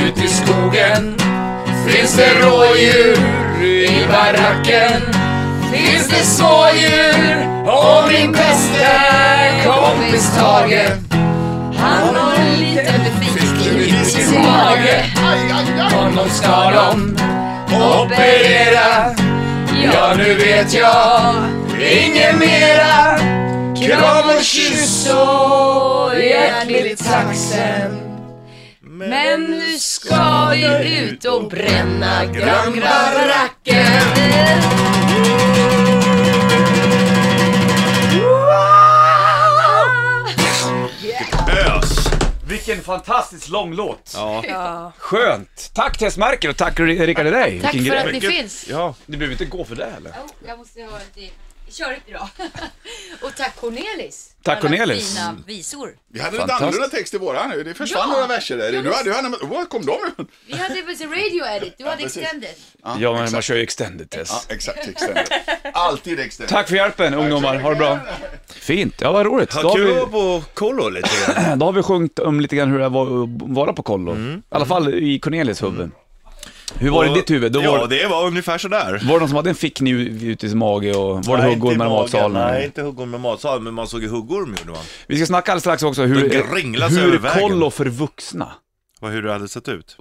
A: Ut i skogen finns det rådjur i baracken. Finns det smådjur och min bästa kompis Tage. Han har en liten fiskgris i sin mage. Honom ska de operera Ja, nu vet jag inget mera Kram och kyss och hjärtligt tack sen
E: eh, Men nu ska vi ut och bränna
A: grannbaracken
B: Ös!
A: Vilken fantastiskt lång låt!
B: Ja.
A: Skönt! Tack Tess Merkel och tack Rickard Herrey!
E: Tack
A: Vilken
E: för
A: grej.
E: att ni finns.
B: ja.
A: Du behöver inte gå för det heller.
E: Jag måste ha lite Kör inte idag. Och tack Cornelis.
A: Tack,
E: för alla
A: Cornelis.
E: Fina visor.
F: Vi hade lite
A: Fantastiskt.
F: annorlunda text i våra nu. Det försvann
E: Ja.
F: några verser där.
E: Ja,
F: Du
E: visst.
F: hade, du hade, var kom de ifrån?
E: Vi hade väl radio edit, du hade
F: precis.
E: extended.
A: Ja, men man kör ju extended test.
F: Ja, exakt. Extended. Alltid extended.
A: Tack för hjälpen ungdomar, ha det bra. Fint, ja vad roligt. Då
B: Ha
A: har,
B: kul
A: vi,
B: att vara på kollo lite grann.
A: Eh, då har vi sjungit om lite grann hur det var att vara på kollo.
B: Mm.
A: I alla fall i Cornelis huvud. Hur var det i ditt huvud? Då
B: Ja,
A: var,
B: det var ungefär sådär.
A: var det någon som hade en fickkniv ute i sin mage och var det
B: Nej,
A: huggormar
B: inte i
A: i
B: magen.
A: matsalen?
B: Nej, inte huggorm i matsalen, men man såg ju huggorm gjorde man.
A: Vi ska snacka alldeles strax också hur,
B: Den gringlas över
A: hur
B: vägen.
A: kollo för vuxna.
B: Vad, hur det hade sett ut.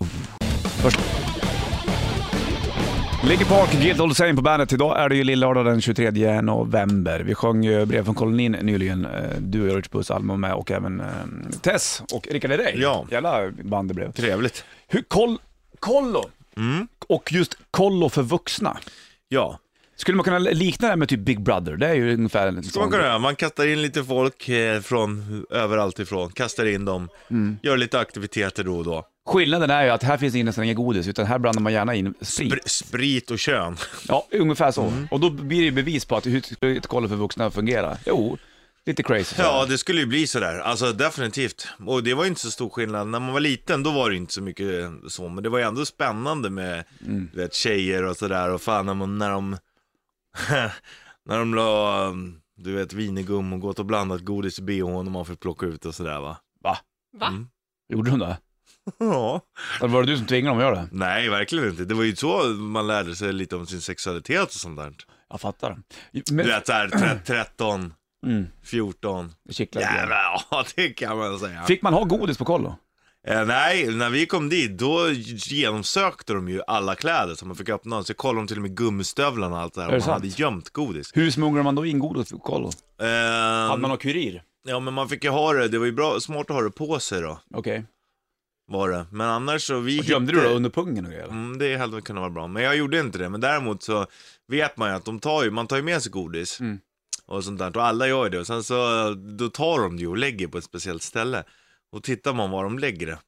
A: Linkin Park, Guild Old Same på bandet. Idag är det ju lillördag den 23 november. Vi sjöng ju Brev från kolonin nyligen. Eh, Du och jag, Rich Puss, Alma var med och även eh, Tess och Rickard Herrey.
B: Ja.
A: Jävla band det blev.
B: Trevligt.
A: Hur koll, kollo
B: Mm.
A: och just kollo för vuxna.
B: Ja,
A: Skulle man kunna likna det med typ Big Brother? Det är ju ungefär en
B: ska man kunna göra. Man kastar in lite folk eh, från överallt ifrån, kastar in dem,
A: Mm.
B: gör lite aktiviteter då och då.
A: Skillnaden är ju att här finns det nästan inget godis, utan här blandar man gärna in sprit.
B: Br- sprit Mm. och kön.
A: Ja, ungefär så. Och då blir det ju bevis på att hur skulle ett kollo för vuxna fungera. Jo, lite crazy. så.
B: Ja, det skulle ju bli sådär. Alltså definitivt. Och det var ju inte så stor skillnad. När man var liten då var det inte så mycket eh, så, men det var ju ändå spännande med du vet, tjejer och sådär och fan när, man, när de, när de la, um, du vet, vinegum och gått och blandat godis i bhn och man fick plocka ut och sådär va.
A: Gjorde de det?
B: Ja.
A: Eller var det du som tvingade dem att göra det?
B: Nej, verkligen inte. Det var ju så man lärde sig lite om sin sexualitet och sånt där.
A: Jag fattar. Men,
B: Du vet såhär tre- 13,
A: mm,
B: 14.
A: det kittlar lite grann.
B: Jävlar, ja det kan man säga.
A: Fick man ha godis på kollo?
B: Eh, nej, när vi kom dit då genomsökte de ju alla kläder som man fick öppna. Så kollade de till och med gummistövlarna och allt det där.
A: det
B: Och man
A: sant?
B: hade gömt godis.
A: Hur smugglar man då in godis på kollo?
B: Eh,
A: Hade man någon kurir?
B: Ja men man fick ju ha det, det var ju bra, smart att ha det på sig då.
A: Okej.
B: Var det. Men annars så vi
A: Och Gömde du det
B: hittade-
A: under pungen och grejer?
B: Mm, det hade väl kunnat vara bra. Men jag gjorde inte det. Men däremot så vet man ju att de tar ju, man tar ju med sig godis.
A: Mm.
B: Och sånt där. Och alla gör ju det. Och sen så, då tar de det ju och lägger på ett speciellt ställe. Och tittar man var de lägger det. Då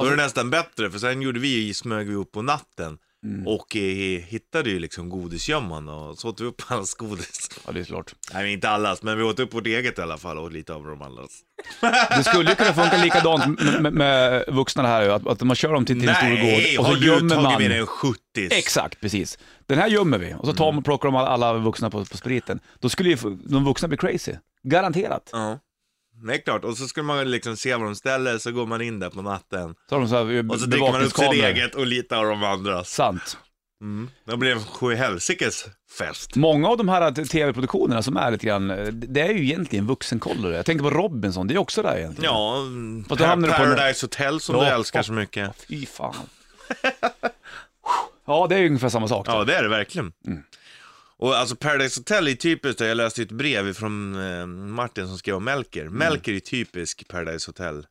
A: Alltså,
B: är det nästan bättre, för sen gjorde vi, smög vi upp på natten.
A: Mm.
B: Och eh, hittade ju liksom godisgömman och så åt vi upp hans godis.
A: Ja, det är klart.
B: Nej, inte allas, men vi åt upp vårt eget i alla fall och lite av de andras.
A: Det skulle ju kunna funka likadant med, med, med vuxna det här ju, att, att man kör dem till, till en stor
B: Nej,
A: gård och
B: har
A: så
B: du
A: gömmer
B: tagit med
A: man.
B: dig en 70
A: Exakt, precis. Den här gömmer vi och så
B: Mm.
A: tar man, plockar de alla- alla vuxna på, på spriten. Då skulle ju f- de vuxna bli crazy. Garanterat.
B: Ja. Nej, klart. Och så skulle man liksom se vad de ställer, så går man in där på natten.
A: Så har de så här eh,
B: Och så dricker man upp sitt
A: bevakningskameror.
B: eget och lite av de andras.
A: Sant.
B: Mm. Det blir en sjuhelsikes fest.
A: Många av de här eh, t- tv-produktionerna som är lite grann, eh, det är ju egentligen vuxenkollo. Jag tänker på Robinson, det är också där egentligen.
B: Ja,
A: Mm. Fast då hamnar du på en-
B: Paradise Hotel som
A: Ja.
B: du älskar så mycket.
A: Fy fan. ja, det är ju ungefär samma sak.
B: Ja, det är det verkligen. Och alltså Paradise Hotel är typiskt, jag läste ett brev från eh, Martin som skrev om Melker. Melker är typisk Paradise Hotel.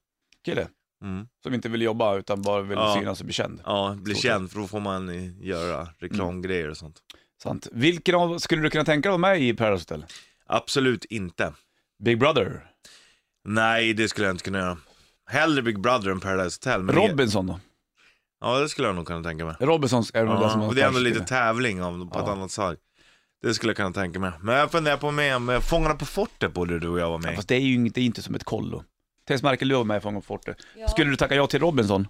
A: Kille.
B: Mm.
A: Som inte vill jobba utan bara vill
B: Ja.
A: synas och bli känd.
B: Ja, bli
A: Så-
B: känd för då får man eh, göra reklamgrejer och sånt.
A: Sant. Vilken av, skulle du kunna tänka dig att vara med i Paradise Hotel?
B: Absolut inte.
A: Big Brother?
B: Nej, det skulle jag inte kunna göra. Hellre Big Brother än Paradise Hotel. men det-
A: Robinson då?
B: Ja, det skulle jag nog kunna tänka mig.
A: Robinson är väl den som
B: Ja,
A: har
B: och det är ändå
A: kanske-
B: lite tävling av, på ett
A: Ja.
B: annat slag. Det skulle jag kunna tänka mig. Men jag funderar på med, med Fångarna på fortet borde du och jag vara med i.
A: Fast det är ju inte, det är inte som ett kollo. Tess Markelöv var med i Fången på fortet. Skulle du tacka ja till Robinson?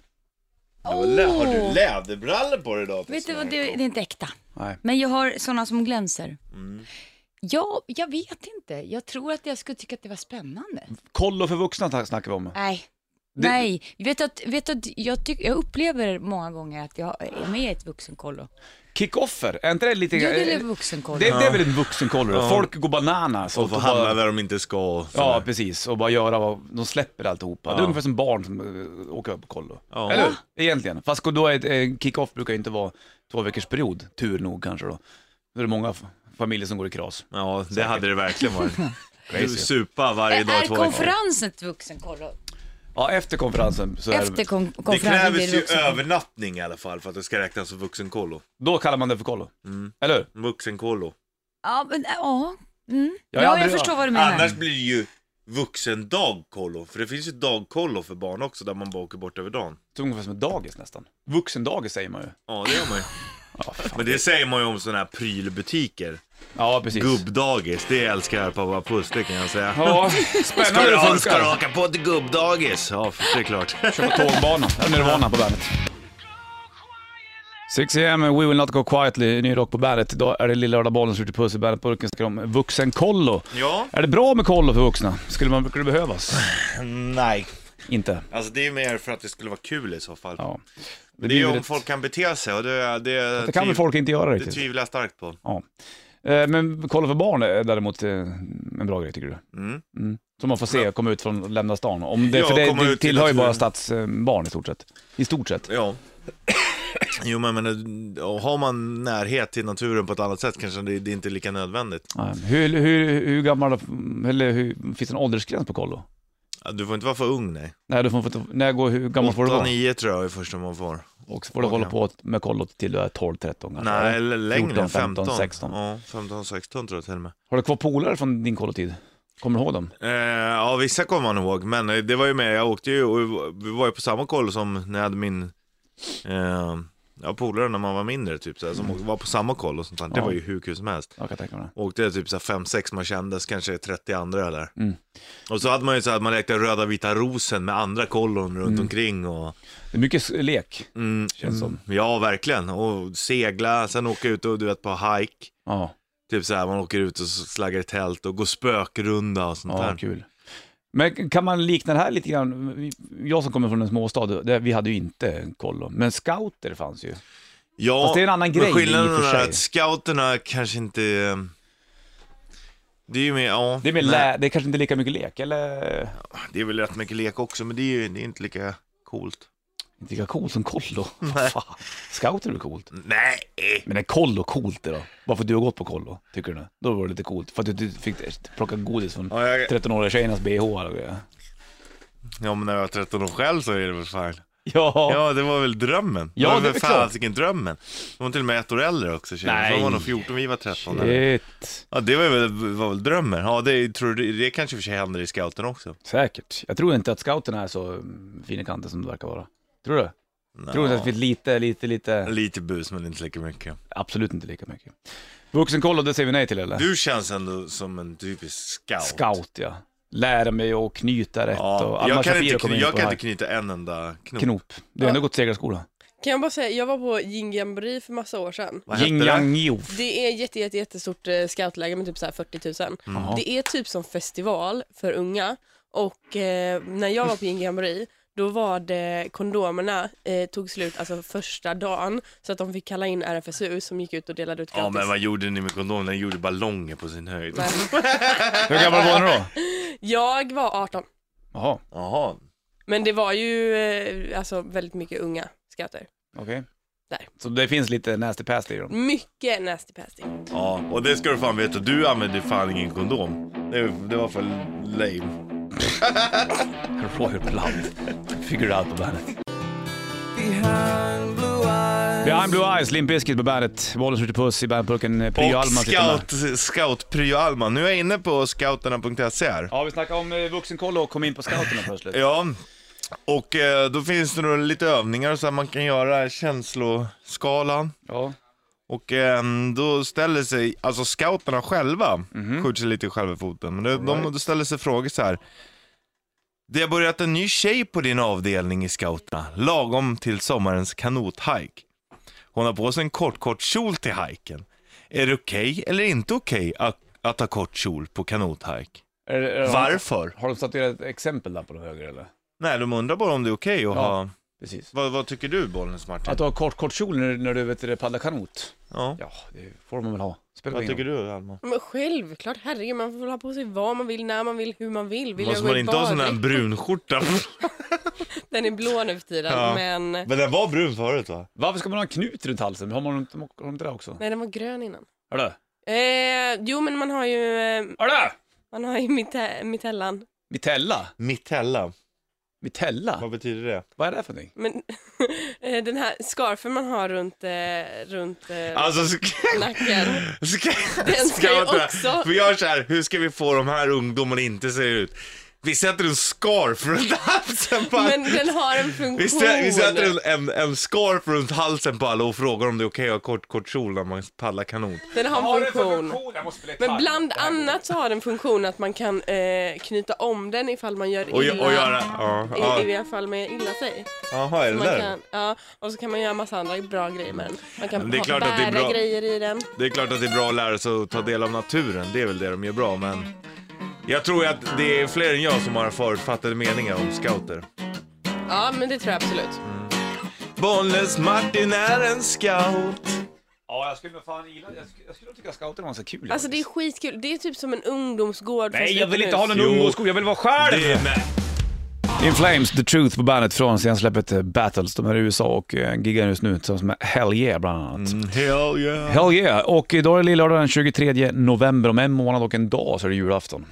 B: Har du läderbrallor på dig idag?
G: Vet du vad, det, det är inte äkta.
A: Nej.
G: Men jag har sådana som glänser.
B: Mm.
G: Ja, jag vet inte. Jag tror att jag skulle tycka att det var spännande.
A: Kollo för vuxna ta- snackar vi om.
G: Nej.
A: Det-
G: Nej, vet du att, vet du att jag, tyck, jag upplever många gånger att jag är med i ett vuxenkollo.
A: Kickoffer, är inte det lite...
G: Du vill ett vuxenkollo.
A: Det, det är väl en vuxenkollo då?
B: Ja.
A: Folk går bananas.
B: Och få hamna där de inte ska och
A: Ja,
B: sådär.
A: precis. Och bara göra vad... De släpper alltihopa. Det är
B: Ja.
A: ungefär som barn som eh, åker upp på kollo.
B: Ja.
A: Eller hur? Egentligen. Fast då är ett, en kick-off brukar ju inte vara två veckors period. Tur nog kanske då. Då är det många f- familjer som går i kras.
B: ja, det hade det verkligen varit. Du
A: Crazy.
B: Supa varje dag i
G: Är
B: två veckor.
G: konferensen ett vuxenkollo?
A: Ja, efter konferensen så är
G: Efter
A: det,
G: kon-
B: Det
G: konferensen blir
B: krävs
G: det
B: ju
G: vuxenkollo.
B: övernattning i alla fall för att det ska räknas som vuxenkollo.
A: Då kallar man det för kollo.
B: Mm.
A: Eller hur?
B: Vuxenkollo.
G: Ja, men ja. Mm.
A: Ja,
G: Ja,
A: jag
G: jag,
A: aldrig-
G: förstår vad du menar.
B: Annars blir det ju vuxendagkollo. För det finns ju dagkollo för barn också där man bara åker bort över dagen.
A: Så ungefär som ett dagis nästan. Vuxendagis säger man ju.
B: Ja, det gör man ju. Men det säger man ju om sådana här prylbutiker.
A: Ja, precis.
B: Gubbdagis, det älskar pappa Puss, det kan jag säga.
A: Ja,
B: Ska
A: spännande hur
B: du,
A: det
B: ha- ska du
A: funkar.
B: haka på till gubbdagis? Ja, det är klart.
A: Kör på tågbanan. Där är Nirvana på bandet. 6 AM, We Will Not Go Quietly, ny rock på bandet. Idag är det lilla röda bollen, Slutty Puss i bandetburken. Snackar om vuxenkollo.
B: Ja.
A: Är det bra med kollo för vuxna? Skulle man skulle det behövas?
B: Nej.
A: Inte.
B: Alltså det är mer för att det skulle vara kul i så fall.
A: Ja.
B: Det, är ju
A: blir
B: om
A: ett-
B: folk kan bete sig och det, det,
A: Det kan väl folk inte göra
B: Det
A: riktigt.
B: tvivlar jag starkt på.
A: Ja. Eh, Men kollo för barn är däremot eh, en bra grej tycker du?
B: Mm.
A: Som man får se komma ut från lämna stan. Om det,
B: Ja,
A: för det,
B: komma
A: det
B: ut i
A: tillhör ju bara
B: naturen.
A: stadsbarn i stort sett. I stort sett.
B: Ja. Jo men, men och har man närhet till naturen på ett annat sätt kanske det, det är inte är lika nödvändigt.
A: Nej. Hur, hur, hur gammal, eller hur, finns det en åldersgräns på kollo?
B: Ja, Du får inte vara för ung nej.
A: Nej, du får, få- när går, hur gammal får du
B: 8,
A: vara?
B: 9 tror jag är första man får.
A: Och så får du hålla på med kollo till du är 12-13 kanske?
B: Nej, eller längre.
A: 14, 15,
B: 15,
A: 16.
B: Ja, 15, 16 tror jag till och med.
A: Har du kvar polare från din kollotid? Kommer du ihåg dem?
B: Eh, ja, vissa kommer man ihåg, men eh, det var ju med, jag åkte ju, och vi var ju på samma koll som när jag hade min, eh, ja polare när man var mindre typ såhär, som var på samma koll och sånt där. Det
A: Ja.
B: var ju hur kul som helst.
A: Jag kan tänka mig det.
B: Åkte jag typ såhär fem, sex man kändes, kanske 30 andra eller.
A: Mm.
B: Och så hade man ju såhär att man lekte röda vita rosen med andra kollon runt omkring och,
A: Det är mycket s- lek,
B: mm,
A: Mm. känns som.
B: ja verkligen. Och segla, sen åka ut och du vet på hike.
A: Ja,
B: Typ såhär, man åker ut och så slaggar i tält och går spökrunda och sånt
A: ja
B: där.
A: kul. Men kan man likna det här lite grann? Jag som kommer från en småstad, det- vi hade ju inte kollo. Men scouter fanns ju.
B: Ja,
A: Fast det är en annan grej i
B: men
A: och för
B: skillnaden är
A: sig.
B: att scouterna kanske inte... eh, Det är ju mer, ja.
A: Det är, mer
B: nej,
A: lä- det är kanske inte lika mycket lek, eller?
B: det är väl rätt mycket lek också, men det är ju det är inte lika coolt.
A: Inte lika coolt som kollo. Vad fan? Scouter är väl coolt?
B: Nej!
A: Men är kollo coolt det då? Bara för att du har gått på kollo, tycker du? det? Då var det lite coolt. För att du, du fick plocka godis från
B: Ja, jag,
A: 13-åriga tjejernas bh och grejer.
B: ja, men när jag var 13 år själv så är det väl fan.
A: Ja.
B: Ja, det var väl drömmen.
A: Ja,
B: var
A: det är
B: väl
A: väl klart.
B: fasiken drömmen. De var till och med ett år äldre också tjejer. Nej.
A: Nej.
B: De var nog 14, vi var 13. eller?
A: Shit.
B: Ja, det var väl, var väl drömmen. Ja, det, tror du, det kanske i och för sig händer i scouten också.
A: Säkert. Jag tror inte att scouterna är så mm, fin i kanten som det verkar vara. Tror du? Tror du inte att det
B: Ja,
A: finns lite, lite, lite?
B: Lite bus, men inte lika mycket.
A: Absolut inte lika mycket. Vuxenkollo, det säger vi nej till eller?
B: Du känns ändå som en typisk scout.
A: Scout ja. Lära mig att knyta rätt och
B: Ja,
A: Alma
B: jag kan,
A: Shapiro
B: inte,
A: kommer
B: kny-
A: in
B: jag
A: på
B: kan
A: här.
B: inte knyta en enda knop.
A: Knop. Du har ändå gått segrarskola.
D: Kan jag bara säga, jag var på Gingambri för massa år sedan.
B: Vad
A: Yin
B: hette det?
A: yang youf.
D: Det är jätte, jätte, jättestort eh, scoutläger med typ så här 40 000.
B: Mm.
D: Det är typ som festival för unga. Och eh, när jag var på Gingambri då var det kondomerna eh, tog slut alltså första dagen så att de fick kalla in RFSU som gick ut och delade ut
B: Ja,
D: gratis.
B: men vad gjorde ni med kondomen? Ni gjorde ballonger på sin höjd.
D: Nej.
A: Hur gammal var du då?
D: Jag var 18
A: Jaha,
B: Jaha.
D: men det var ju eh, alltså väldigt mycket unga scouter.
A: okej.
D: Där.
A: Så det finns lite nasty past i dem?
D: Mycket nasty pasty.
B: Ja, och det ska du fan veta. Du använde fan ingen kondom. Det, det var för lame.
A: Roger Plant. Figure it out på bandet. Behind Blue Eyes, Limp Bizkit på bandet. Bollens Ritchie Puss i bandburken. Prio
B: Och
A: Alman sitter med.
B: scout, scout Pryo Alman. Nu är jag inne på scouterna.se här.
A: Ja, vi snackade om eh, vuxenkollo och kom in på scouterna plötsligt.
B: Ja, och eh, då finns det nog lite övningar så att man kan göra känsloskalan.
A: Ja.
B: Och ehm, då ställer sig, alltså scouterna själva, skjuter sig lite själva i foten, men de, de då ställer sig frågor så här. Det har börjat en ny tjej på din avdelning i scouterna, lagom till sommarens kanothike. Hon har på sig en kort kort kjol till hajken. Är det okej eller inte okej att, att ha kort kjol på kanothike?
A: Är det- är det-
B: Varför?
A: Har de statuerat ett exempel där på någon höger eller?
B: Nej, de undrar bara om det är okej att
A: Ja.
B: ha...
A: Precis.
B: Vad, vad tycker du Bollnäs Martin?
A: Att du har kort, kort kjol när, när du vet det, paddlar kanot?
B: ja.
A: Ja, det får man väl ha. Spelar
B: Vad
A: ingen
B: tycker
A: roll.
B: du Alma?
D: Men självklart, herregud man får väl ha på sig vad man vill, när man vill, hur man vill. vill
B: Måste
D: jag gå
B: man
D: i
B: inte ha sån här
D: baddräkt?
B: brunskjorta?
D: Den är blå nu för tiden
B: Ja.
D: men
B: men den var brun förut va?
A: Varför ska man ha en knut runt halsen? Har man inte, har de inte det också?
D: nej den var grön innan.
A: Hörru!
D: Eh, jo men man har ju, eh,
A: Hörru!
D: man har ju mite- mitellan.
A: Mitella?
B: Mitella,
A: Mitella?
B: vad betyder det?
A: Vad är det för någonting?
D: Men eh, den här scarfen man har runt, eh, runt eh,
B: Alltså, ska,
D: nacken.
B: ska,
D: Den ska ju
B: jag inte-
D: också-
B: För jag är så här, hur ska vi få de här ungdomarna inte se ut? Vi sätter en scarf runt halsen på
D: Men
B: alla.
D: den har en funktion.
B: Vi, sä, vi sätter en, en, en scarf runt halsen på alla och frågar om det är okej att ha kort, kort kjol när man paddlar kanot.
D: Den har
A: Vad
D: en
A: har du för
D: funktion.
A: funktion? Jag måste spela gitarr.
D: Men bland
A: Det här går
D: annat så har den funktion att man kan eh, knyta om den ifall man gör
B: Och,
D: illa.
B: gö- och göra... Ja,
D: I,
B: ja.
D: I alla fall med illa sig.
B: Jaha, är det
D: Man
B: där?
D: kan, ja, och så kan man göra massa andra bra grejer med den.
B: Men
D: Man kan
B: det är
D: ha-
B: klart att det är
D: bära
B: bra.
D: grejer i den.
B: Det är klart att det är bra att lära sig att ta del av naturen, det är väl det de gör bra, men... Jag tror ju att det är fler än jag som har förutfattade meningar om scouter.
D: Ja, men det tror jag absolut.
B: Bollnäs Martin är en scout.
A: Ja, jag skulle nog fan gilla Jag skulle, jag skulle nog tycka scouter var så kul.
D: Alltså det är skitkul. Det är typ som en ungdomsgård. fast
A: Nej, jag vill
D: utomhus.
A: inte ha någon
B: Jo.
A: ungdomsskola. Jag vill vara själv!
B: Det är med.
A: In Flames, The Truth på bandet från släppet eh, Battles. De är i USA och eh, giggar just nu tillsammans med Hell Yeah bland annat.
B: Hell yeah.
A: Hell yeah! Och idag är det lillördag den 23 november. Om en månad och en dag så är det julafton.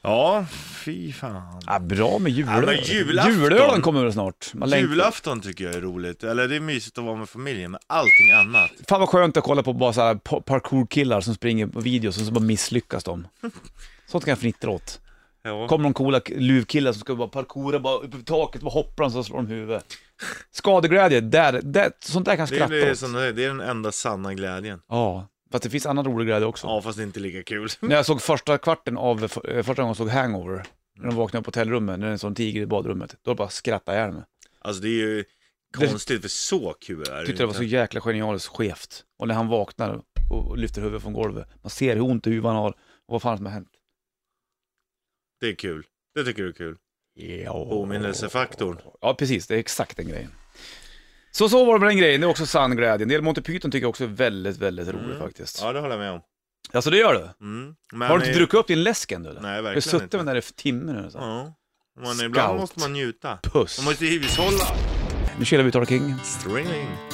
B: Ja, fy fan.
A: Ja, bra med julöl.
B: Ja, men julafton.
A: Julölen kommer väl snart. Man längtar.
B: Julafton tycker jag är roligt, eller det är mysigt att vara med familjen, men allting annat.
A: Fan vad skönt att kolla på bara så här pa- parkourkillar som springer på videos och så bara misslyckas de. Sånt kan jag fnittra åt.
B: Ja.
A: Kommer någon coola k- luvkillar som ska bara parkoura bara uppe på taket, bara hoppar de så slår de huvudet. Skadeglädje, där, där, sånt där kan jag
B: Det är,
A: skratta
B: det, är
A: åt.
B: som, det är den enda sanna glädjen.
A: Ja, fast det finns annan rolig glädje också.
B: Ja, fast det är inte lika kul.
A: När jag såg första kvarten av, eh, första gången jag såg Hangover, när de vaknade på hotellrummet, när det är en sån tiger i badrummet, då bara skrattade jag ihjäl mig.
B: Alltså det är ju konstigt, för så kul är det
A: Tyckte det var så
B: inte.
A: jäkla genialiskt skevt. Och när han vaknar och och lyfter huvudet från golvet, man ser hur ont i huvudet han har och vad fan som har hänt.
B: Det är kul. Det tycker du är kul.
A: Ja.
B: Påminnelsefaktorn.
A: Ja, precis. Det är exakt den grejen. Så så var det med den grejen, det är också sann glädje. En del Monty Python tycker jag också är väldigt, väldigt roligt
B: Mm.
A: faktiskt.
B: Ja, det håller jag med om.
A: Alltså det gör du?
B: Mm. Men
A: har du inte
B: i-
A: druckit upp din läsk ännu eller?
B: Nej,
A: Jag har
B: verkligen
A: suttit
B: inte.
A: med den här i timmar nu. Så.
B: Ja. Men ibland
A: Scout.
B: måste man njuta.
A: Puss.
B: Man måste ju hushålla.
A: Nu kilar vi Uttala King.
B: Stringling.